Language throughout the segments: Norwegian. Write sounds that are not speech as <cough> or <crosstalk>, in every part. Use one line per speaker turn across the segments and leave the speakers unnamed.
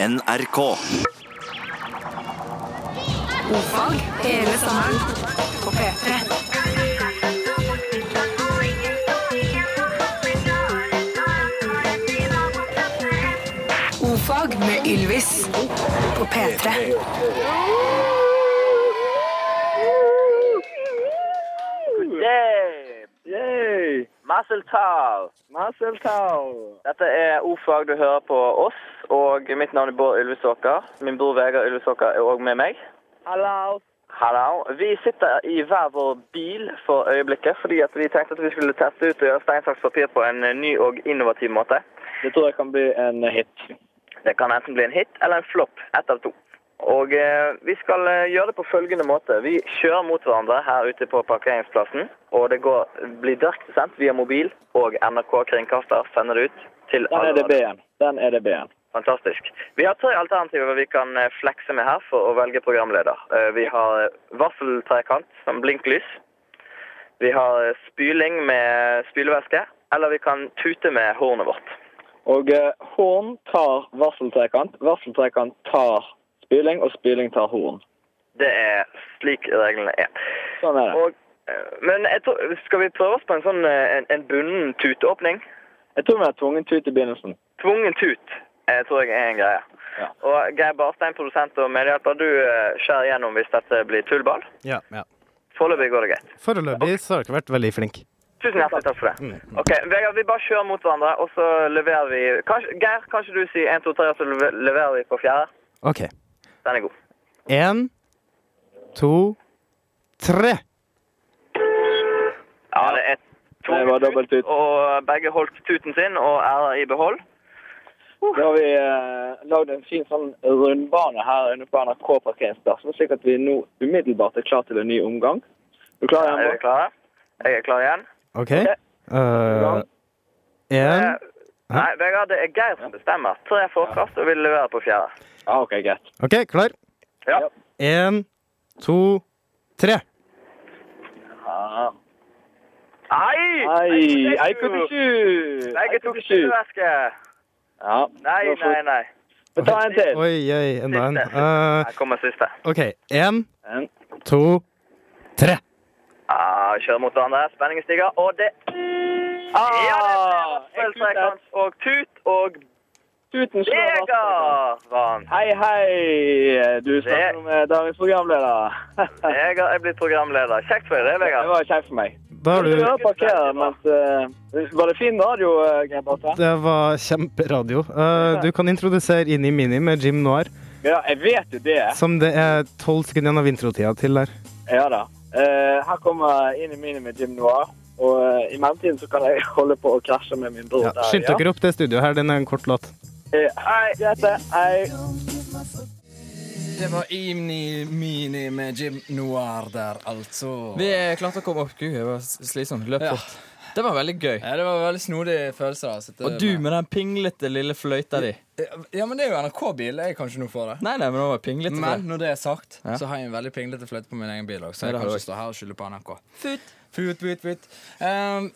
NRK.
Fag hele sommeren på P3. Ofag med Ylvis på P3.
Yay!
Yay!
Mazel tov!
Mazel tov!
Dette er O-fag du hører på oss, og mitt navn er Bård Ylvesåker. Min bror Vegard Ylvesåker er òg med meg.
Hallo!
Hallo. Vi sitter i hver vår bil for øyeblikket, fordi at vi tenkte at vi skulle teste ut og gjøre stein, saks, papir på en eh, ny og innovativ måte.
Det tror jeg kan bli en hit.
Det kan enten bli en hit eller en flopp. Ett av to. Og eh, vi skal eh, gjøre det på følgende måte. Vi kjører mot hverandre her ute på parkeringsplassen. Og det går, blir direkte sendt via mobil, og NRK Kringkaster sender det ut til
Den er
alle
det B-en. Den er det B-en.
Fantastisk. Vi har tre alternativer vi kan eh, flekse med her for å velge programleder. Eh, Vi har eh, vaffeltrekant som blinklys. Vi har eh, spyling med spylevæske. Eller vi kan tute med hornet vårt.
Og eh, horn tar varseltrekant, varseltrekant tar spyling, og spyling tar horn.
Det er slik reglene er.
Sånn er det.
Og, eh, men jeg tror, skal vi prøve oss på en sånn eh, en, en bunnen tuteåpning?
Jeg tror vi har tvungen tut i begynnelsen.
Tvungen tut eh, tror jeg er en greie.
Ja.
Og Geir Barstein, produsent og medhjelper, du eh, skjærer gjennom hvis dette blir tullball.
Ja, ja.
Foreløpig går det greit.
Foreløpig så har dere vært veldig flink.
Tusen hjertelig takk for det. Ok, Vegard, vi bare kjører mot hverandre, og så leverer vi kanskje, Geir, kan ikke du si 1, 2, 3, og så leve- leverer vi på fjerde?
OK.
Den er god.
Én, to, tre.
Ja, det er to
Det var dobbelt ut.
og begge holdt tuten sin og ærer i behold. Uh.
Da har vi eh, lagd en fin sånn rundbane her inne på NRK parkeringsplassen, slik at vi nå umiddelbart er klar til en ny omgang. Du klar
Er vi
igjen?
klare? Jeg er klar igjen.
OK. Eh, Én
Eh, Nei, Vegard, det er Geir som bestemmer. Tre forkast, og vi leverer på fjerde.
Ja, Ah, OK, greit.
OK, klar?
Ja.
Én, to, tre.
Ja.
Nei!
Ei, ei,
Nei,
kubbesju!
jeg tok spillevæske.
Ja.
Nei,
nå får-
nei, nei.
Vi tar en til.
Oi, oi, enda en. Eh,
Her kommer siste.
OK. Én,
En.
to, tre.
Ah, kjører mot hverandre. Spenningen stiger, og det
Ah,
Ja, det er
en tut der.
vaffel, og tut og
Tuten slår vaffel.
Vegard vant.
Hei, hei! Du
Det-
snakker nå med dagens programleder.
Vegard er blitt programleder. Kjekt for deg, det,
Det
Vegard.
var kjekt for meg.
Da har du
hører parkere, mens, eh, Var det fin radio, eh, Geir Barthe?
Det var kjemperadio. Eh, du kan introdusere Inni Mini med Jim Noir,
Ja, jeg vet jo det.
som det er tolv sekunder igjen av introtida til der.
Ja da. Eh, her kommer Inn i mine med Jim Noir. Og eh, i mellomtiden så kan jeg holde på å krasje med min bror.
Ja,
der,
skynd
ja.
dere opp til studioet her, den er en kort låt.
Eh, Hei, Grete. Hei.
Det var Imni Mini med Jim Noir der, altså.
Vi klarte å komme opp. Gud, jeg var slitsom. Løp
Ja.
fort. Det var veldig gøy.
Ja, det var veldig snodig følelse. da å sitte
Og du med den pinglete lille fløyta di.
Ja, men det er jo NRK-bil. Jeg kan ikke noe for det.
Nei, nei, men den var pinglete.
Men når det er sagt,
Ja.
så har jeg en veldig pinglete fløyte på min egen bil òg, så
Ja,
jeg kan
det har
ikke
du.
stå her og skylde på NRK. Fut. Fut, fut, fut. Ehm,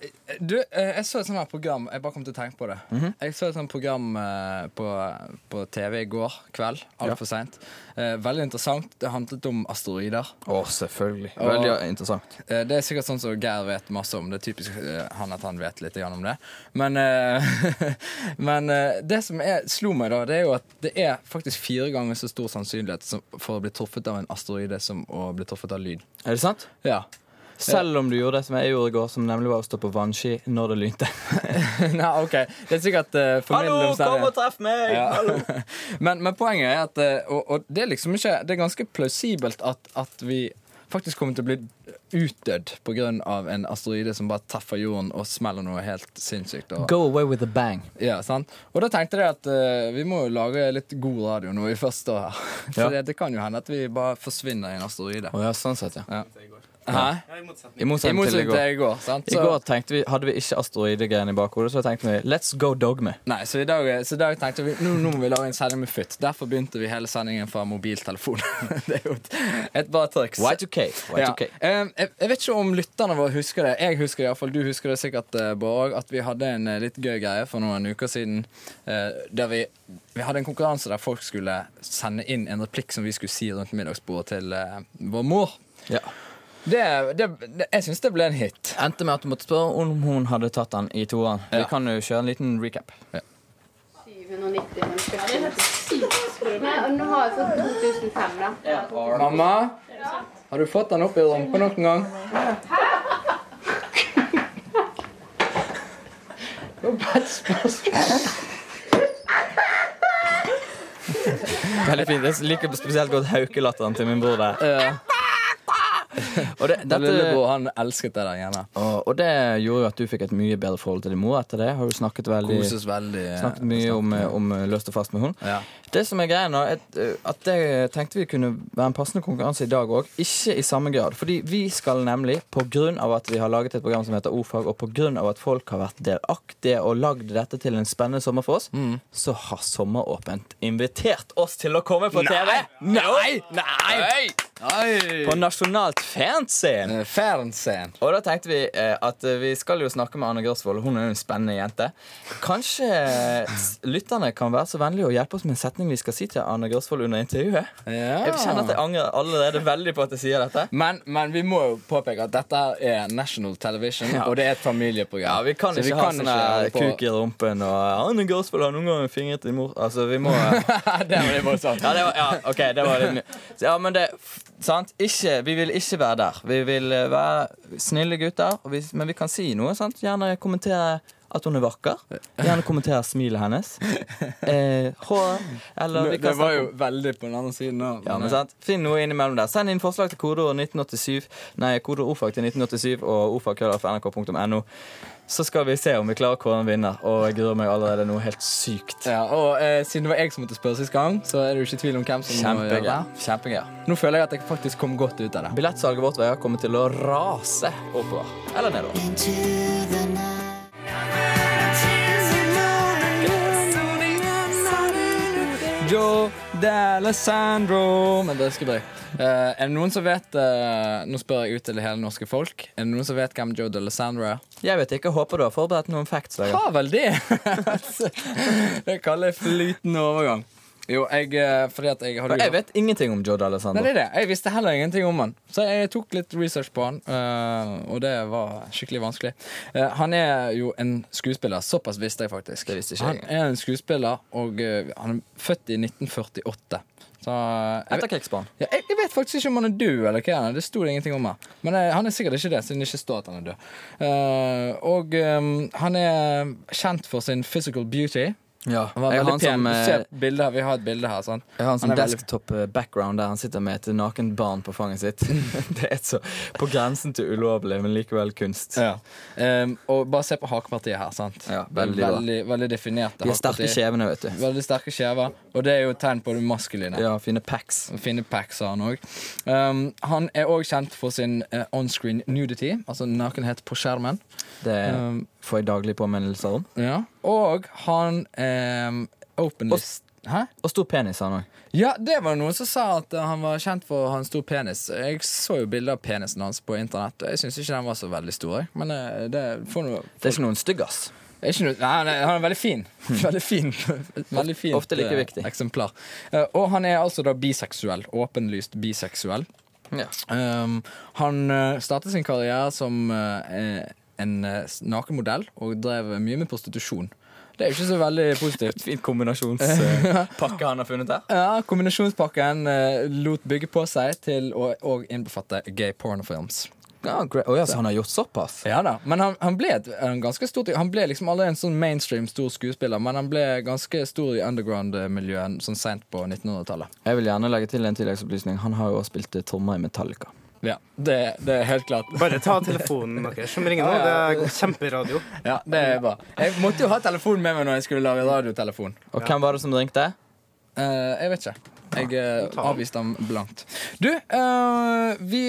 du, eh, jeg så et sånt her program Jeg bare kom til å tenke på det.
Mhm.
Jeg så et sånt program eh, på, på TV i går kveld. Altfor seint. Eh, veldig interessant. Det handlet om asteroider.
Å, selvfølgelig. Veldig
Og-
interessant.
Eh, Det er sikkert sånn som Geir vet masse om. Det er typisk eh, han at han vet litt grann om det. Men, eh, <laughs> men eh, det som er, slo meg, da, det er jo at det er faktisk fire ganger så stor sannsynlighet som, for å bli truffet av en asteroide som å bli truffet av lyd.
Er det sant?
Ja. <laughs>
Selv om du gjorde det som jeg gjorde i går, som nemlig var å stå på vannski når det lynte.
Nei, OK. Det er sikkert eh, formildende omstendigheter.
treff meg!
Ja. <laughs> men, men poenget er at eh, og, og det er liksom ikke Det er ganske plausibelt at, at vi faktisk kommer til å bli utdødd pga. en asteroide som bare treffer jorden og smeller noe helt sinnssykt. Og,
Go away with a bang.
Ja, sant? Og da tenkte jeg at eh, vi må jo lage litt god radio når vi først står her. <laughs> For
Ja.
det, det kan jo hende at vi bare forsvinner i en asteroide.
Å ja, sånn sett, ja.
Ja. Hæ?
Ja, i motsetning.
I
I
motsetning til i
motsetning
går.
til i går. sant?
I går tenkte vi, hadde vi ikke asteroidegreiene i bakhodet, så tenkte vi let's go dogme.
Nei, så i dag, eh, så i dag tenkte vi nå, nå må vi lage en sending med futt. Derfor begynte vi hele sendingen fra mobiltelefon. <laughs> det er jo et, et bra triks.
Y2K.
Ja.
Y2K.
Eh, jeg, jeg vet ikke om lytterne våre husker det. Jeg husker det iallfall. Du husker det sikkert, eh, Bård, at vi hadde en eh, litt gøy greie for noen uker siden. eh, der vi, vi hadde en konkurranse der folk skulle sende inn en replikk som vi skulle si rundt middagsbordet til eh, vår mor.
Ja.
Det, det, det, jeg syns det ble en hit.
Endte med at du måtte spørre om hun hadde tatt den i toeren.
Ja.
Vi kan jo kjøre en liten recap.
790, men skal jeg Nei, og nå har jeg fått 2005, da.
Mamma, har du fått den opp i rumpa noen gang?
Veldig fint. Jeg liker spesielt godt haukelatteren til min bror der. Og det,
Den
dette,
lillebror han elsket det der gjerne.
og, og det gjorde jo at du fikk et mye bedre forhold til din mor etter det. Har du snakket veldig
Koses veldig.
Snakket mye om, om løst og fast med henne.
Ja.
Det som er greia nå, er at, eh, at det tenkte vi kunne være en passende konkurranse i dag òg. Ikke i samme grad. Fordi vi skal nemlig, pga. at vi har laget et program som heter Ordfag, og pga. at folk har vært delaktige og lagd dette til en spennende sommer for oss, så har Sommeråpent invitert oss til å komme på TV! Nei! Nei! På nasjonalt fanscene!
Eh, Fernsehen.
Og da tenkte vi eh, at eh, vi skal jo snakke med Anne Grosvold. Hun er jo en spennende jente. Kanskje eh, s- lytterne kan være så vennlige å hjelpe oss med en setning vi skal si til Anne Grosvold under intervjuet? Jeg kjenner at jeg angrer allerede veldig på at jeg sier dette.
Men, men vi må jo påpeke at dette her er national television,
Ja.
og det er et familieprogram.
Ja, Vi kan
Så
ikke ha sånn der
holde på-
kuk i rumpen og 'Anne Grosvold har noen gang fingret i mor'. Altså, vi må
<laughs> det var sånn. litt voldsomt.
Ja, det var, ja, ok, det var litt mye. Ja, men det Sant? Ikke, vi vil ikke være der. Vi vil eh, være snille gutter, og vi, men vi kan si noe. sant? Gjerne kommentere at hun er vakker. Gjerne kommentere smilet
<laughs>
hennes. Eh, hår Eller vi
Det,
kan
var
snakke
jo
om
veldig på den andre siden. da,
ja, men
eh,
sant? Finn noe innimellom der. Send inn forslag til kodeord 1987 Nei, kodeord ordfag til 1987 og ordfag.nrk.no. Så skal vi se om vi klarer å kåre en vinner. Og jeg gruer meg allerede noe helt sykt.
ja, og eh, Siden det var jeg som måtte spørre sist gang, så er det jo ikke tvil om hvem som må gjøre
Kjempegøy.
det.
Kjempegøy.
Nå føler jeg at jeg faktisk kom godt ut av det.
Billettsalget vårt veier kommer til å rase oppover. Eller nedover.
Joe D'Alessandro Men det skriver jeg. Eh, er det noen som vet eh, Nå spør jeg ut til det hele norske folk. Er det noen som vet hvem Joe D'Alessandro er?
Jeg vet ikke, håper du har forberedt noen facts. Vegard.
Har vel det! <laughs> Altså, det kaller jeg flytende overgang. Jo, jeg eh, Fordi at jeg hadde
For jeg vet ingenting om Joe
Nei,
D'Alessandro.
det er det. Jeg visste heller ingenting om han. Så jeg tok litt research på han, eh, og det var skikkelig vanskelig. Eh, han er jo en skuespiller. Såpass visste jeg faktisk.
Det visste ikke
han
jeg.
er en skuespiller, og eh, han er født i 1948. Så eh, jeg,
Etter krigsbarn.
ja, jeg, jeg vet faktisk ikke om han er død eller hva han er. Det sto det ingenting om her. Men eh, han er sikkert ikke det, siden det ikke står at han er død. Eh, og eh, han er kjent for sin physical beauty.
Ja.
Han var
Jeg har
veldig
han
pen.
som,
Du
eh,
ser bildet her. Vi har et bilde her. sant?
jeg har han som
er veldig-
desktop-background der han sitter med et nakent barn på fanget <laughs> sitt. det er så på grensen til ulovlig, men likevel kunst.
Ja. Ehm, og bare se på hakepartiet her. sant?
Ja, veldig bra.
veldig, veldig definerte
De har sterke
hakepartier.
kjevene, vet du.
Veldig sterke kjever. Og det er jo et tegn på det maskuline.
Ja, fine packs.
Fine packs har han òg. Ehm, han er òg kjent for sin eh, onscreen nudity, altså nakenhet på skjermen.
Det
Um,
får jeg daglig påminnelser om.
Ja. Og han um, openly
Og s-
Hæ?
Og stor penis, han òg.
Ja, det var noen som sa at eh, han var kjent for å ha en stor penis. Jeg så jo bilder av penisen hans på internett, og jeg syns ikke den var så veldig stor. jeg. Men eh, det får noe
Det er ikke noen stygg, ass.
Det er Ikke noe, nei, nei, han er veldig fin. Veldig fin. Veldig fint
Ofte like
eh,
viktig.
eksemplar. Eh, Og han er altså da biseksuell. Åpenlyst biseksuell.
Ja.
Um, han eh, startet sin karriere som eh, en eh, nakenmodell og drev mye med prostitusjon. Det er jo ikke så veldig positivt.
Fin kombinasjonspakke han har funnet <laughs> der.
Ja, Kombinasjonspakken eh, lot bygge på seg til å og innbefatte gay pornofilms.
Ja, great. Å ja, så han har gjort såpass?
Ja da, men han, han ble et, en ganske stor Han ble liksom aldri en sånn mainstream stor skuespiller, men han ble ganske stor i underground-miljøet sånn seint på 1900-tallet.
Jeg vil gjerne legge til en tilleggsopplysning. Han har jo også spilt eh, trommer i Metallica.
Ja, det, det er helt klart.
Bare ta telefonen deres som ringer nå. Det er kjemperadio.
Ja, det er bra. Jeg måtte jo ha telefonen med meg når jeg skulle lage radiotelefon.
Og hvem var det som ringte?
Eh, jeg vet ikke. Jeg eh, avviste ham blankt. Du, eh, vi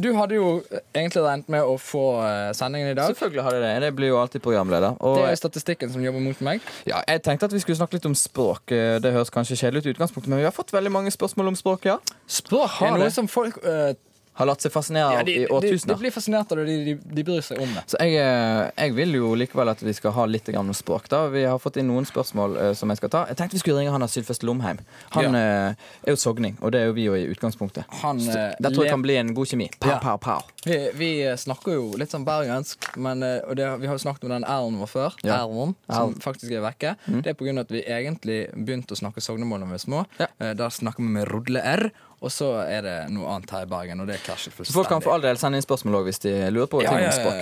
Du hadde jo egentlig regnet med å få eh, sendingen i dag.
Selvfølgelig har jeg det. Jeg blir jo alltid programleder. Og
Det er statistikken som jobber mot meg.
ja, jeg tenkte at vi skulle snakke litt om språk. Eh, Det høres kanskje kjedelig ut i utgangspunktet, men vi har fått veldig mange spørsmål om språk, ja.
Språk
er
er noe
det.
som folk eh,
Har latt seg fascinere
ja, de,
i
de, de
årtusener.
blir fascinert av det. De, de, de bryr seg om det.
Så jeg, eh, jeg vil jo likevel at vi skal ha litt grann om språk. da Vi har fått inn noen spørsmål eh, som jeg skal ta. Jeg tenkte vi skulle ringe han av Sylfest Lomheim. Han
Ja.
eh, er jo sogning, og det er jo vi jo i utgangspunktet.
Han,
Så
eh,
der tror
le-
jeg kan bli en god kjemi. Pow,
Ja.
pow, pow.
Vi, vi snakker jo litt sånn bergensk, men, eh, og det, vi har jo snakket om den r-en vår før.
Ja.
R-en,
Mm.
som faktisk er vekke. Det er pga. at vi egentlig begynte å snakke sognemål da vi var små.
Ja.
Eh, Der snakker vi med rodle-r, og så er det noe annet her i Bergen, og det krasjer
Så folk kan for all del sende inn spørsmål også hvis de lurer på ting om språk.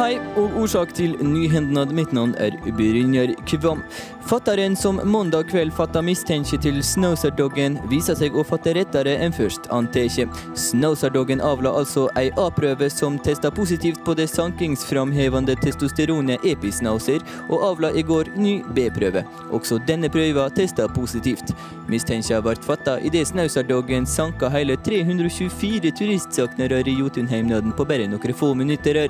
Hei, og årsak til nyhendnad. Mitt navn er Brynjar Kvam. Fatteren som mandag kveld fatta mistenke til Snowserdoggen, viser seg å fatte rettere enn først antekje. Snowserdoggen avla altså ei A-prøve som testa positivt på det sankingsframhevende testosteronet episnauser, og avla i går ny B-prøve. Også denne prøva testa positivt. Mistenka ble fatta idet Snausardoggen sanka hele 324 turistsaknarar i Jotunheimnaden på bare noen få minutter. her.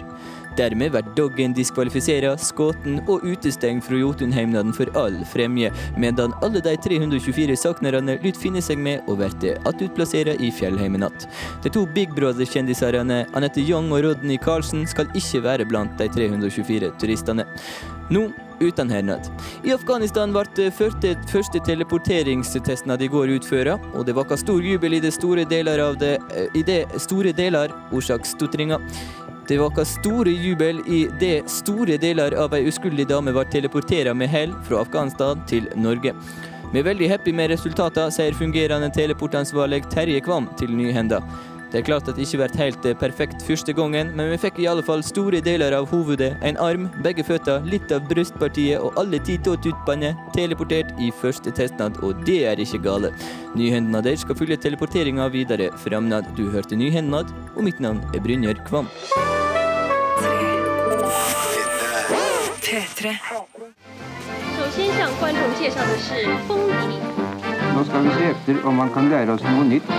Dermed blir doggen diskvalifisert, skutt og utestengt fra Jotunheimnaden for all fremje, medan alle de 324 saknerne lyt finne seg med og blir attutplassert i fjellheimen att. De to Big Brother-kjendisene Anette Young og Rodney Carlsen skal ikke være blant de 324 turistene. Nå uten hernad. I Afghanistan ble første, første teleporteringstestnad i går utført, og det vakket stor jubel i det store deler av det, eh, i det store deler, orsak stotringa. Det vakket store jubel i det store deler av ei uskyldig dame ble teleportert med hell fra Afghanistan til Norge. Vi er veldig happy med resultatene, sier fungerende teleportansvarlig Terje Kvam til Nyhenda. Det er klart at det ikke vært helt eh, perfekt første gangen, men vi fikk i alle fall store deler av hovedet, en arm, begge føtter, litt av brystpartiet og alle ti tåtuppene teleportert i første testnad, og det er ikke gale. Nyhendenader skal følge teleporteringa videre framnad. Du hørte Nyhendenad, og mitt navn er Brynjar Kvam.
P3.
首先向观众介绍的是风笛。
Nå skal vi se etter om man kan lære oss noe nytt.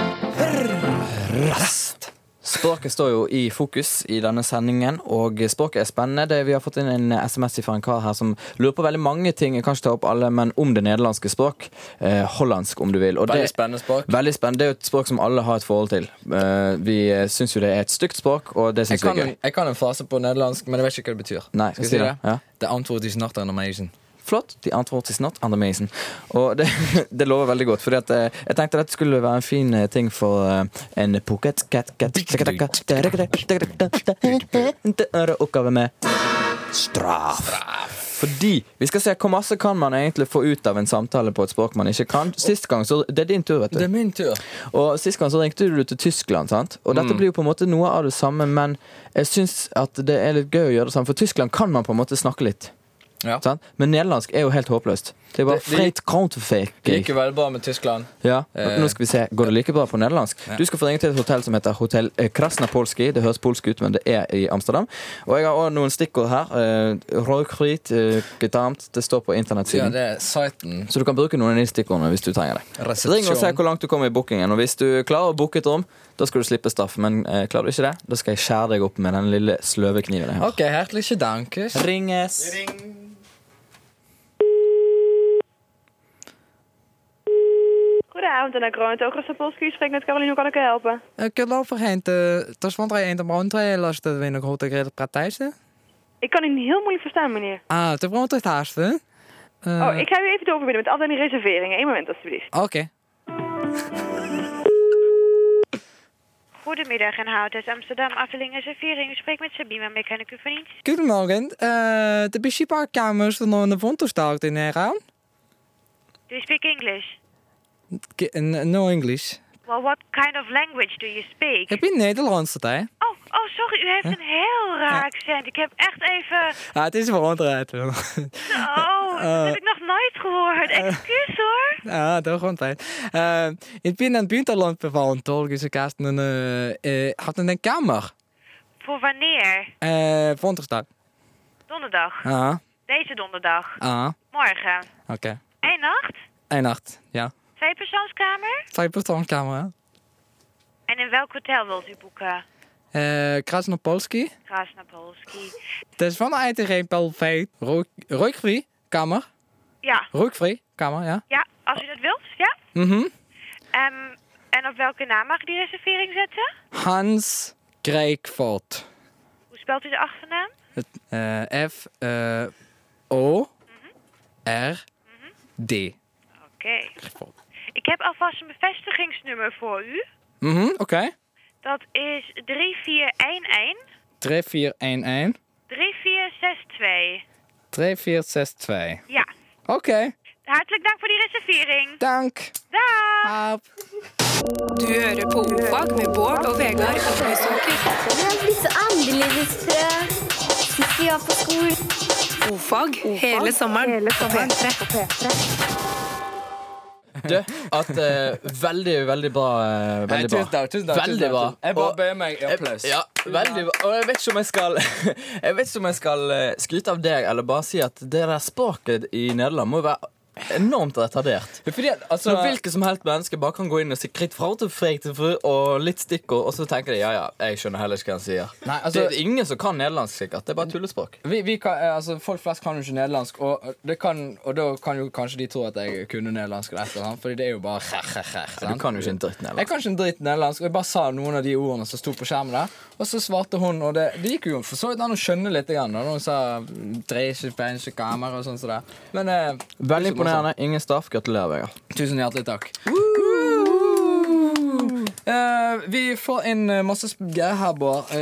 Språket står jo i fokus i denne sendingen, og språket er spennende. Det, vi har fått inn en SMS fra en kar her som lurer på veldig mange ting. Jeg kan ikke ta opp alle, men om det nederlandske språk. Eh, hollandsk, om du vil. Og
Veldig
det-
spennende språk.
Veldig spennende. Det er jo et språk som alle har et forhold til. Eh, vi syns jo det er et stygt språk, og det
Jeg
syns vi er
kan,
gøy.
jeg kan en frase på nederlandsk, men jeg vet ikke hva det betyr.
Nei,
skal jeg
si
si
det?
det?
Ja.
Det er antwoord is not an amazing.
Flott. The antwort is not under mason. Og det, <laughs> det lover veldig godt. For jeg tenkte dette skulle være en fin eh, ting for eh, en pocket cat cat Oppgave med straff. Fordi vi skal se hvor masse kan man egentlig få ut av en samtale på et språk man ikke kan. Sist gang, så Det er din tur, vet du.
Det er min tur.
Og Sist gang så ringte du til Tyskland, sant? og
Mm.
dette blir jo på en måte noe av det samme, men jeg syns at det er litt gøy å gjøre det samme, for Tyskland kan man på en måte snakke litt.
Ja.
Sant? Men nederlandsk er jo helt håpløst. Det er bare
Det- det-
freit counterfake.
Gikk jo veldig bra med Tyskland.
Ja.
Eh.
Nå skal vi se, Går det like bra på nederlandsk? Du skal få ringe til et hotell som heter Hotell Krasnapolski. Det høres polsk ut, men det er i Amsterdam. Og jeg har også noen stikkord her. Eh, Rookriet, eh, gedamt. Det står på
Ja,
internettsiden.
det er siten.
Så du kan bruke noen av de stikkordene hvis du trenger det.
Resepsjon.
Ring og se hvor langt du kommer i bookingen. Og hvis du klarer å booke et rom, da skal du slippe straff. Men eh, klarer du ikke det, da skal jeg skjære deg opp med den lille sløve kniven jeg har.
Ok, hertelig dankes.
Ringes.
Goedenavond, en Groente. Ook Rostopolski, u spreekt met Caroline. Hoe kan ik u helpen?
Eh, Ik nou geloof er geen te... Er stond er een te brandtreden als dat we in de grote grede partijse.
Ik kan u niet heel moeilijk verstaan, meneer.
Ah, te brandtreden haast, hè?
Oh, ik ga u even doorverbinden met afdeling reserveringen. Eén moment, alstublieft.
Oké.
Goedemiddag, en hout uit Amsterdam, afdeling reservering. U spreekt met Sabine, waarmee kan ik u van iets?
Goedemorgen. Eh, De Bishiparkkamers van de Vondelstaart in Iran.
Do you speak English?
K- n- eh, No English.
Well, what kind of language do you speak?
Ik ben Nederlands, hè?
Oh, oh, sorry, u heeft een heel raar accent. Ik heb echt <laughs> even...
Ah, het is brandtrijd.
Oh, dat heb ik nog nooit gehoord. Excuus hoor.
<laughs> Ah, dat gewoon fijn. Eh, Ik ben aan het buitenland bevallen, toch? Dus ik had een, eh, eh, had een kamer.
Voor wanneer?
Eh, Vondelstaart.
Donderdag.
Ah.
Deze donderdag.
Ah,
Morgen.
ok.
Eén nacht.
Én natt, ja.
Twee persoonskamer.
Tweepersoonkamera.
En in welk hotel wilt u boeken?
Eh, Krasnopolski.
Krasnopolski.
Het is van eigen pelvee. Rookvrij kamer.
Ja.
Rookvrij kamer, ja.
Ja, als u dat wilt, ja.
Mhm.
Ehm, en op welke naam mag ik die reservering zetten?
Hans Krijkvoort.
Hoe spelt u de achternaam?
Het, eh, F, eh, O, R, D.
Oké.
Krijkvoort.
Ik heb alvast een bevestigingsnummer voor u.
Mhm, oké.
Dat is 3411
3411
3462.
3462.
Ja.
Oké,
Hartelijk dank voor die reservering.
dank.
Dag.
Hap.
Du hører på Ofag med Bård og Vegard Husåker.
Jeg blir så annerledes fra sist vi var på skolen.
Ofag hele sommeren på P3.
Du, at eh, Veldig, veldig bra. eh,
Nei,
veldig bra.
tusen takk, tusen takk,
veldig
tusen takk, tusen
bra.
takk. Jeg bare
Og-
ber meg i applaus.
Eh, Ja, veldig bra. Og jeg vet ikke om jeg skal <laughs> Jeg vet ikke om jeg skal eh, skryte av deg eller bare si at det der språket i Nederland må jo være enormt retardert.
Fordi, at, altså,
Når hvilket som helst menneske bare kan gå inn og si kritt fra til freit til fru og litt stikkord, og så tenker de ja, ja, jeg skjønner heller ikke hva han sier.
Nei, altså-
det er ingen som kan nederlandsk, sikkert. Det er bare tullespråk.
vi, vi kan, eh, altså, folk flest kan jo ikke nederlandsk, og, det kan, og da kan jo kanskje de tro at jeg kunne nederlandsk. Eller et eller annet, fordi det er jo bare rr, rr, rr,
Du
sant?
kan jo ikke en dritt nederlandsk.
Jeg kan ikke en dritt nederlandsk, og jeg bare sa noen av de ordene som sto på skjermen der. Og så svarte hun, og det, det gikk jo for så vidt an å skjønne litt. Grann, da når hun sa «Dreisje, pensje, kamer» og sånn som det. Men eh,
Veldig
det var sånn.
imponerende. Ingen staff. Gratulerer, Vegard.
Tusen hjertelig takk. Eh, vi får inn eh, masse sp- greier her, Bård. Eh,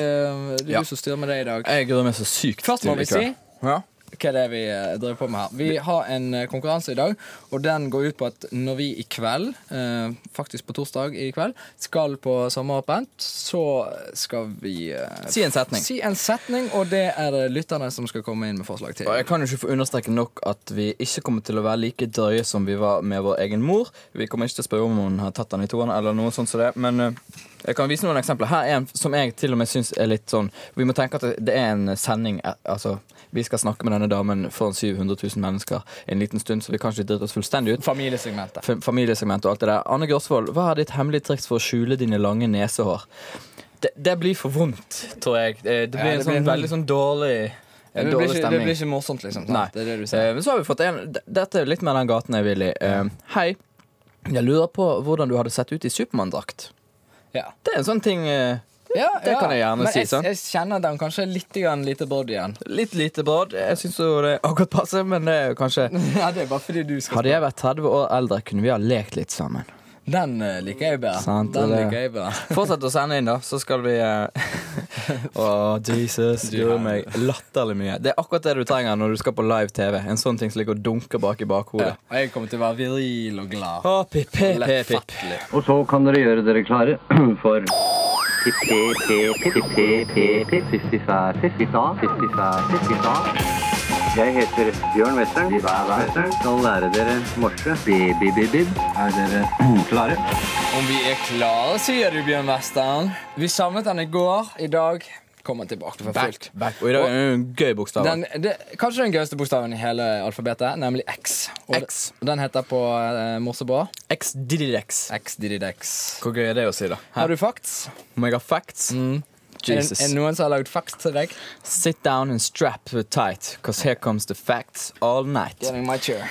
det er
Ja.
du som styrer med det i dag.
Jeg gruer meg så sykt
Først må
til i
vi si
kveld. Ja.
hva det er vi eh, driver på med her. Vi har en eh, konkurranse i dag, og den går ut på at når vi i kveld, eh, faktisk på torsdag i kveld, skal på sommeråpent, så skal vi eh,
Si en setning.
si en setning, og det er det lytterne som skal komme inn med forslag til.
Og jeg kan jo ikke få understreke nok at vi ikke kommer til å være like drøye som vi var med vår egen mor. Vi kommer ikke til å spørre om hun har tatt den i toene, eller noe sånt som det. Men eh, jeg kan vise noen eksempler. Her er en som jeg til og med syns er litt sånn Vi må tenke at det er en sending. eh, Altså, vi skal snakke med denne damen foran 700 000 mennesker en liten stund, så vi kan ikke drite oss fullstendig ut.
Familiesegmentet.
F- familiesegment og alt det der. Anne Grosvold, hva er ditt hemmelige triks for å skjule dine lange nesehår? Det, det blir for vondt, tror jeg. Eh, Det blir
Ja, det
en sånn
blir en-
veldig sånn dårlig,
Det
en
blir,
dårlig
ikke, det
stemning.
blir ikke morsomt, liksom. sant?
Nei.
Det er det du
Eh,
sier.
Men så har vi fått en d- Dette er litt mer den gaten jeg vil i. Eh, Hei, jeg lurer på hvordan du hadde sett ut i Supermann-drakt.
Ja.
Det er en sånn ting eh,
Ja,
Det kan jeg gjerne
Men
si, sant?
Jeg, jeg kjenner den kanskje litt grann lite body igjen. <laughs>
Litt lite brodd. Jeg syns jo det er akkurat passe, men det er jo kanskje
ja, det er bare fordi du skal
Hadde jeg vært 30 år eldre, kunne vi ha lekt litt
<laughs>
sammen.
Den eh, liker jeg bedre.
Sant,
den
det-
liker jeg bedre.
Fortsett å sende inn, da, så skal vi eh, Å, Jesus,
Du
du gjør
her.
meg latterlig mye. Det er akkurat det du trenger når du skal på live TV. En sånn ting som ligger og dunker bak i bakhodet.
Ja, og jeg kommer til å være viril og glad.
Å, pip, pip, pip, pip.
Lettfattelig.
Og så kan dere gjøre dere klare for Jeg heter Bjørn Western. Western. Skal lære dere morse. Bi-bi-bi-bib. Er dere klare?
Om vi er klare, sier du, Bjørn Western. Vi savnet den i går. I dag kommer den tilbake for fullt.
Back, back. Og i dag er det en gøy bokstav.
Den, det, kanskje den gøyeste bokstaven i hele alfabetet, nemlig X. Og
X.
Den heter på eh, morsebra
X-Didirex.
X-dididex.
Hvor gøy er det å si, da?
Har du facts?
Om jeg har facts?
Er,
Jesus.
det- er det noen som har lagd facts til deg?
Sit down and strap tight, cause here comes the facts all night.
Get in my chair.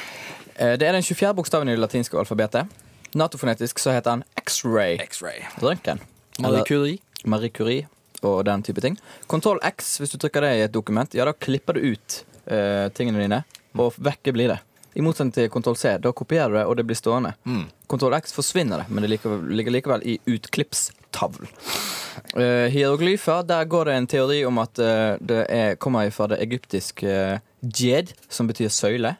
Eh, Det er den 24. bokstaven i det latinske alfabetet. Natofonetisk så heter han X-ray.
X-ray.
Røntgen.
Marie
Curie. Marie Curie og den type ting. Kontroll X, hvis du trykker det i et dokument, ja, da klipper du ut eh, tingene dine, og vekke blir det. I motsetning til kontroll C, da kopierer du det, og det blir stående. Kontroll X forsvinner det, men det likevel, ligger likevel i utklippstavlen. Eh, hieroglyfer, der går det en teori om at eh, det er, kommer fra det egyptiske eh, djed, som betyr søyle.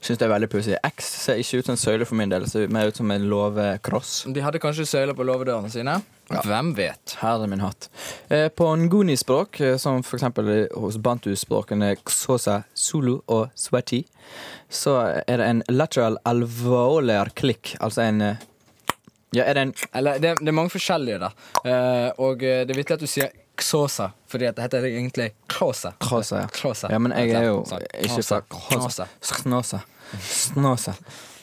Syns det er veldig pussig. X ser ikke ut som en søyle for min del, det ser mer ut som en låvekross.
De hadde kanskje søyler på låvedørene sine. Hvem vet?
Herre min hatt. Eh, på nguni-språk, eh, som for eksempel hos bantu-språkene xhosa, zulu og swati, så er det en lateral alveolar klikk, altså en eh, Ja, er det en
Eller, det, det er mange forskjellige der. Eh, og eh, det er viktig at du sier Ksosa, fordi at det heter egentlig Kåsa.
Kråsa,
Kråsa.
ja. ja. Men jeg er jo
Sånn.
ikke fra
Kråsa.
Kråsa. Snåsa. Snåsa.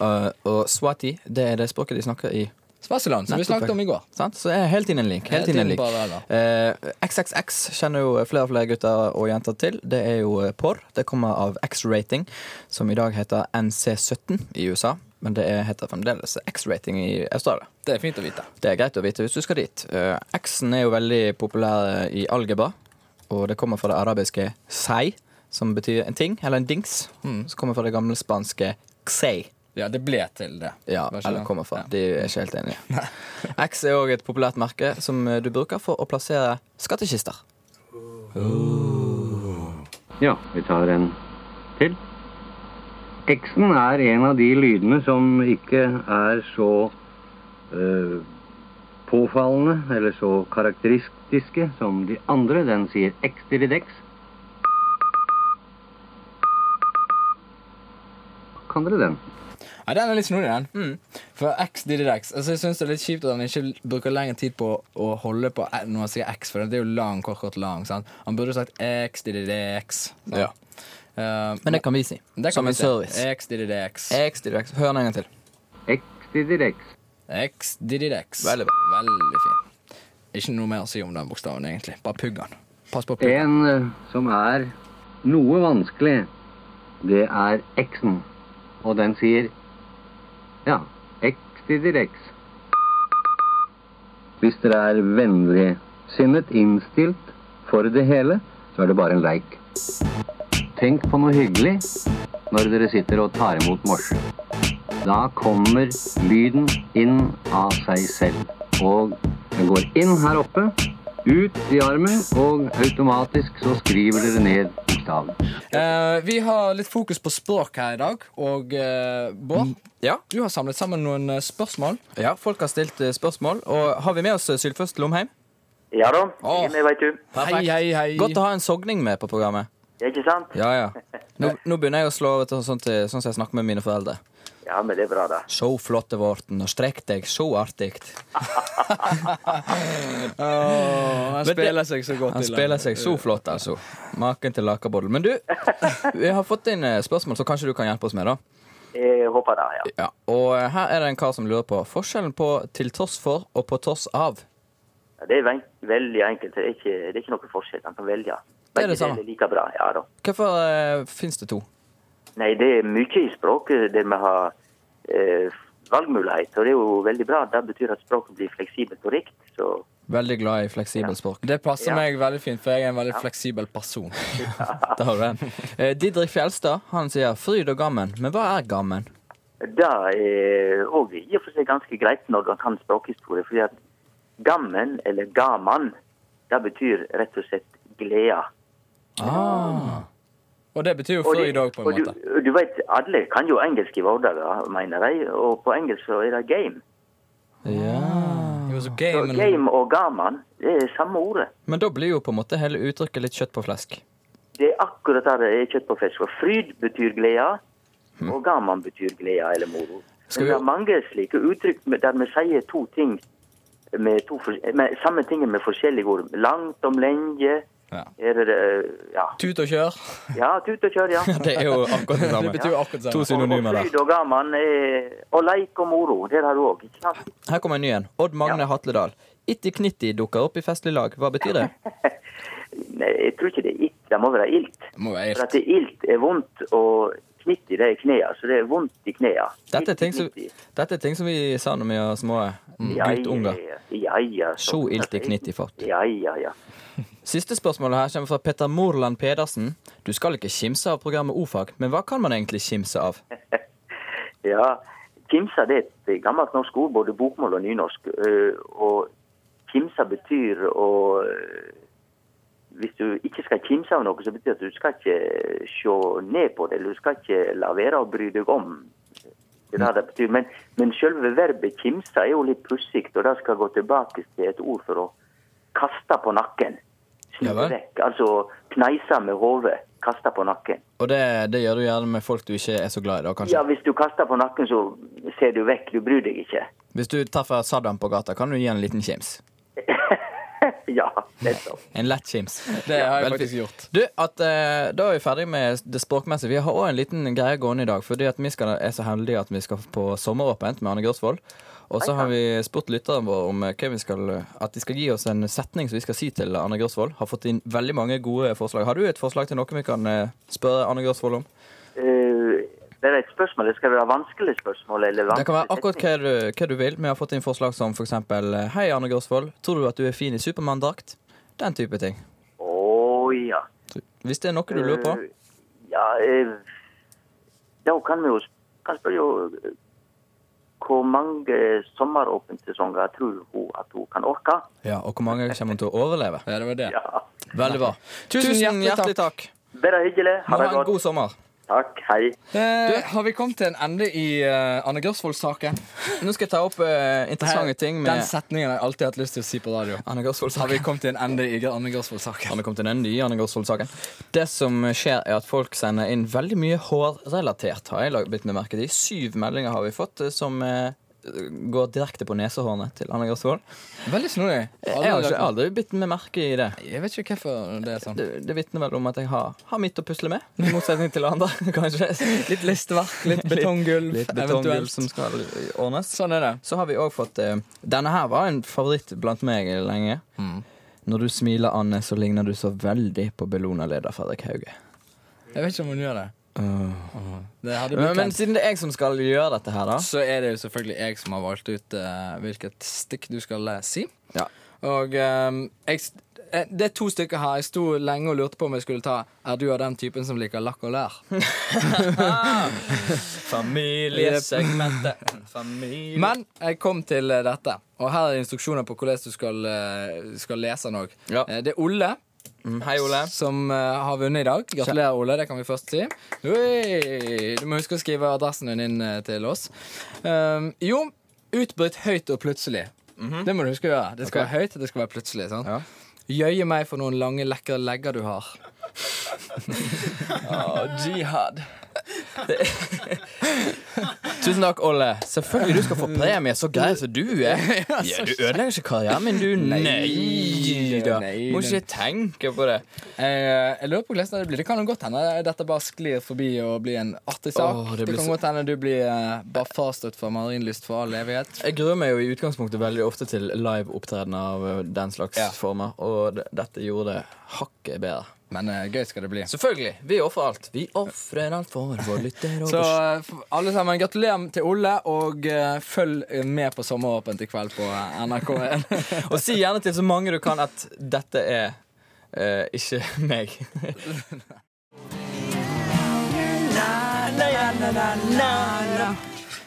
Uh, og swati, det er det språket de snakker i
Swaziland, som vi snakket om i går.
Sant? Så jeg er helt innen lik. Helt
Helt
innen
innen
lik.
paralleller.
Eh, XXX kjenner jo flere og flere gutter og jenter til. Det er jo eh, porr. Det kommer av X-rating, som i dag heter NC17 i USA. Men det er- heter fremdeles X-rating i Australia.
Det er fint å vite.
Det er greit å vite hvis du skal dit. Eh, X-en er jo veldig populær eh, i algebra, og det kommer fra det arabiske sei, som betyr en ting, eller en dings. Som kommer fra det gamle spanske xei.
Ja, det ble til det.
Ja,
Var ikke
eller
det?
kommer fra. De er ikke helt enige. <laughs> X er òg et populært merke som eh, du bruker for å plassere skattkister.
Ja, vi tar en til. X-en er en av de lydene som ikke er så eh, påfallende eller så karakteristiske som de andre. Den sier X til i dex. Kan dere den?
Ja, den er litt snodig, den.
Mm.
For X DDX. Altså, jeg syns det er litt kjipt at han ikke bruker lengre tid på å holde på eh, når han sier X, for det er jo lang, kort, kort, lang. Sant? Han burde jo sagt X DDX. sant?
Ja.
Eh,
Men det kan vi si.
det
som
vi
en
se.
service. Eh,
X DDX.
X direkte. Hør den en gang til.
X til i dex.
X DDX.
Veldig
bra. Veldig fint. Ikke noe mer å si om den bokstaven, egentlig. Bare pugg den. Pass på å pugge den.
En eh, som er noe vanskelig, det er X-en. Og den sier ja, X til direks. Hvis dere er vennligsinnet innstilt for det hele, så er det bare en leik. Tenk på noe hyggelig når dere sitter og tar imot morse. Da kommer lyden inn av seg selv. Og den går inn her oppe, ut i armen, og automatisk så skriver dere ned bokstaven.
Eh, vi har litt fokus på språk her i dag. Og eh, Bård,
Mm,
du har samlet sammen noen eh, spørsmål.
Ja, folk har stilt eh, spørsmål. Og har vi med oss eh, Sylfest Lomheim?
Ja da,
Åh.
det vet du.
Perfekt. Godt å ha en sogning med på programmet.
Ja, Ikke sant?
Ja,
<laughs>
ja. Nå, nå begynner jeg å slå over til sånn, til, sånn som jeg snakker med mine foreldre.
Ja, men det er bra, da.
Så flotte vorten, og strekk deg, så artig. <laughs>
han
Men det-
spiller seg så godt eh.
Han
i lag.
spiller seg så flott, altså. Maken til lakerbodle. Men du,
<laughs>
vi har fått inn eh, spørsmål som kanskje du kan hjelpe oss med, da.
Jeg håper det, ja.
Ja, og eh, her er det en kar som lurer på forskjellen på til tross for og på tross av.
Ja, Det er ven- veldig enkelt. Det er ikke, det er ikke noe forskjell. Man kan velge.
Det er det
Begge
samme.
deler like bra, ja da.
Hvorfor eh, fins det to?
Nei, det er mye i språket der vi har eh, valgmulighet, og det er jo veldig bra. Det betyr at språket blir fleksibelt og rikt. Så
Veldig glad i fleksibelt språk.
Det passer
Ja.
meg veldig fint, for jeg er en veldig fleksibel
<laughs>
person. <laughs>
Der har du den. Eh, Didrik Fjelstad han sier fryd og gammen. Men hva er gammen?
det er òg i og for seg ganske greit når du kan språkhistorie, fordi at gammen, eller gaman, det betyr rett og slett glede.
Og det betyr jo
Og
fryd
det-
òg, på en
og
måte.
Du, du vet, alle kan jo engelsk i hverdagen, mener jeg, og på engelsk så er det game.
Det var så
Så
game, men...
game og gaman, det er samme ordet.
Men da blir jo på en måte hele uttrykket litt kjøtt på flesk.
Det er akkurat det det er kjøtt på fisk. For fryd betyr glede,
Hm.
og gaman betyr glede eller moro.
Skal
Men
vi-
det er mange slike uttrykk med- der vi sier to ting med, to for, med samme tingen med forskjellige ord. Langt om lenge.
Ja.
Er det, eh, ja.
Tut og kjør.
ja, tut og
<laughs>
kjør, ja.
Det er jo akkurat det samme.
Det betyr jo akkurat det
To
samme.
synonymer der.
Fryd og gaman er Og leik og moro. Det har du òg, ikke sant?
Her kommer en ny en. Odd Magne Hatledal. Itti Knitti dukker opp i festlig lag. Hva betyr det?
Nei, jeg tror ikke det er ilt. Det må være ilt.
Må være
For at
helt.
det ilt er vondt, og knitt i det er knea. Så det er vondt i knea.
Dette er ting som,
Ilt i knitt i.
dette er ting som vi sa når vi var små eh, guttunger.
Ja, ja, ja.
Så ilt i knitt i fart.
Ja, ja, ja.
Siste spørsmålet her kommer fra Petter Morland Pedersen. Du skal ikke kimse av programmet O-fag, men hva kan man egentlig kimse av?
ja. Kimsa det er et gammelt norsk ord, både bokmål og nynorsk. eh, Og kimsa betyr å eh, Hvis du ikke skal kimse av noe, så betyr det at du skal ikke se ned på det. Eller du skal ikke la være å bry deg om. Det er det det betyr. Men, men selve verbet kimsa er jo litt pussig, og det skal gå tilbake til et ord for å kaste på nakken.
Ja
Slippe
vel.
vekk. Altså kneise med hodet. Kaste på nakken.
Og det, det gjør du gjerne med folk du ikke er så glad i, da, kanskje.
Ja, hvis du kaster på nakken, så ser du vekk. Du bryr deg ikke.
Hvis du treffer Saddam på gata, kan du gi han en liten kims.
<laughs> ja, nettopp.
En lett kims.
Det har jeg
Veldig
faktisk
fint.
gjort.
Du, at, eh, da er vi ferdig med det språkmessige. Vi har òg en liten greie gående i dag. Fordi at vi skal, er så heldige at vi skal på sommeråpent med Arne Gørsvold. Og så har vi spurt lytterne våre om eh, hva vi skal, at de skal gi oss en setning som vi skal si til Arne Gørsvold. Har fått inn veldig mange gode forslag. Har du et forslag til noe vi kan eh, spørre Arne Gørsvold om?
Eh, det er et spørsmål. Skal det være vanskelig spørsmål? Eller
Det kan
vanskelig
være akkurat hva du, hva du vil. Vi har fått inn forslag som f.eks.: Hei, Arne Gørsvold. Tror du at du er fin i Supermann-drakt? Den type ting.
Å ja.
Hvis det er noe du lurer på.
Eh, ja, eh, da kan vi jo sp- kan spørre jo eh, hvor mange sommeråpensesonger tror hun at hun kan orke?
Ja, Og hvor mange kommer hun til å overleve?
Ja, det var det.
Veldig bra. Tusen, hjertelig takk.
Bare hyggelig.
Ha det godt. God sommer.
Takk. Hei.
Eh, har vi kommet til en ende i eh, Anne Gørsvold-saken?
Nå skal jeg ta opp eh, interessante ting med-
Den setningen har jeg alltid hatt lyst til å si på radio.
Anne Gørsvold-saken.
Har vi kommet til en ende i Anne Gørsvold-saken?
Han er kommet til den nye Anne Gosvold-saken. Det som skjer, er at folk sender inn veldig mye hårrelatert, har jeg lag- bitt meg merke i. Syv meldinger har vi fått eh, som eh, går direkte på nesehårene til Anne Gosvold.
Veldig snodig.
Jeg har ikke aldri bitt meg merke i det.
Jeg vet ikke hvorfor det er sånn.
Det, det vitner vel om at jeg har, har mitt å pusle med, i motsetning til andre, <laughs> kanskje. Litt listverk,
litt <laughs> betonggulv,
Litt, betonggulv
eventuelt.
som skal ordnes. Sånn er det. Så har vi òg fått eh, Denne her var en favoritt blant meg lenge. Når du smiler, Anne, så ligner du så veldig på Bellona-leder Fredrik Hauge.
Jeg vet ikke om hun gjør det. Det hadde blitt
Men, men
men,
siden det er jeg som skal gjøre dette her, da
Så er det jo selvfølgelig jeg som har valgt ut eh, hvilket stikk du skal eh, si.
Ja.
Og ehm, jeg, s- eh, det er to stykker her. Jeg sto lenge og lurte på om jeg skulle ta Er du av den typen som liker lakk og lær?
<laughs> Familiesegmentet. Familie.
Men jeg kom til eh, dette, og her er instruksjoner på hvordan du skal, eh, skal lese den òg. Eh, Det er Olle.
Mm, Hei, Ole.
Som eh, har vunnet i dag. Gratulerer, Ole. Det kan vi først si. Ui, du må huske å skrive adressen din inn eh, til oss. Um, jo, utbryt høyt og plutselig. Det må du huske å gjøre. Det skal
Ok.
være høyt, det skal være plutselig. Sant? Jøye meg for noen lange, lekre legger du har.
jihad. Tusen takk, Olle. Selvfølgelig du skal
Mm.
få premie, så grei som du
<laughs>
er. Ja, du ødelegger ikke karrieren min, du.
Nei,
Nei da.
nei,
Må
nei.
ikke tenke på det.
Jeg, jeg lurer på hvordan det blir. Det kan jo godt hende dette bare sklir forbi og blir en artig sak.
Åh, det
det,
blir
kan
så-
godt hende du blir eh, bare frastøtt fra marinlyst for all evighet.
Jeg gruer meg jo i utgangspunktet veldig ofte til live-opptreden av eh, den slags former, og d- dette gjorde det hakket bedre.
Men Eh, gøy skal det bli.
Selvfølgelig. Vi ofrer alt. Vi ofrer alt for vår lytter. og
Så
vår-
eh, f- alle sammen, gratulerer til Olle, og eh, følg eh, med på Sommeråpent i kveld på eh, NRK1.
Og si gjerne til så mange du kan at dette er eh, ikke <laughs> meg.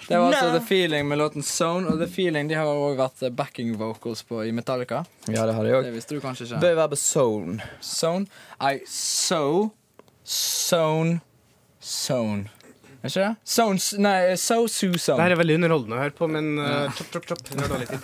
Det var altså The Feeling med låten Zone, og The Feeling de har også vært eh, backing vocals på i Metallica.
ja, det har jeg
Det
òg.
visste du kanskje ikke.
Bør være på zone.
Zone. I so Zone Zone. Er ikke det? Zone s- Nei, so su
Det her
zone.
er veldig underholdende å høre på, men eh, chop, chop, chop. Det er dårlig tid.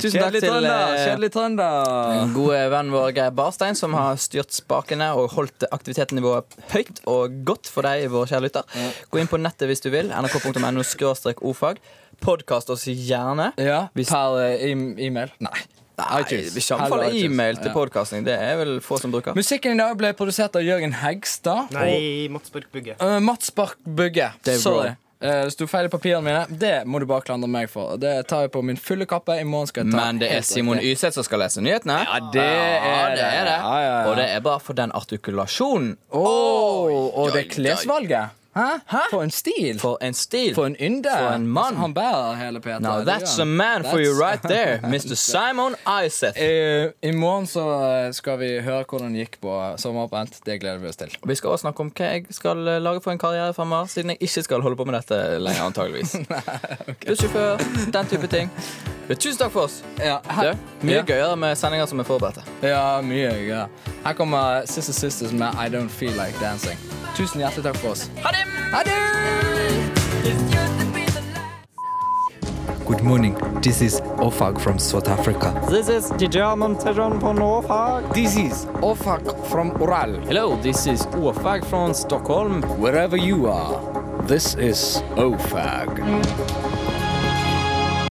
Tusen takk
Kjedelig
til
trønder,
eh,
kjedelig Den gode vennen vår Geir Barstein, som har styrt spakene og holdt aktivitetsnivået høyt og godt for deg, vår kjære lytter. Gå inn på nettet hvis du vil. nrk.no skråstrek ofag. Podkast oss gjerne.
Ja,
Hvis-
per eh, im- e-mail. Nei.
Nei,
iTunes.
vi anbefaler
Hello, iTunes.
e-mail til
Ja.
podcasting. Det er vel få som bruker.
Musikken i dag ble produsert av Jørgen Hegstad.
Nei, Mats Borch Bugge.
Og, eh, Mats Bark Bugge.
Dave
Sorry.
Grohl.
Eh, Det sto feil i papirene mine. Det må du bare klandre meg for. Det tar jeg på min fulle kappe. I morgen skal jeg ta
Men det er
helt
Simon
riktig.
Yseth som skal lese nyhetene. Ja,
det er
det.
det. Ja, ja, ja.
Og det er bare for den artikulasjonen.
Åh, og det er klesvalget. Hæ? For en stil!
For en stil.
For en ynde!
For en mann.
Altså, han bærer hele Peter.
Now
Det gjør
that's a
han.
man for you
That's-
right there,
<laughs>
Mr. Simon Iseth.
Eh, I morgen så eh, skal vi høre hvordan det gikk på sommeråpent. Det gleder vi oss til.
Vi skal også snakke om hva jeg skal eh, lage for en karriere fremover, siden jeg ikke skal holde på med dette
<laughs>
lenger, antageligvis. Bussjåfør, den type ting. Men Tusen takk for oss.
Ja,
Det
her,
er mye
Ja.
gøyere med sendinger som er forberedte.
ja mye gøy. Her kommer Sister Sisters med I Don't Feel Like Dancing. Tusen hjertelig takk for oss. Ha det!
Good morning. This is Ofag from South Africa.
This is the German version for Norfolk.
This is Ofag from Ural.
Hello, this is Ofag from Stockholm.
Wherever you are, this is Ofag.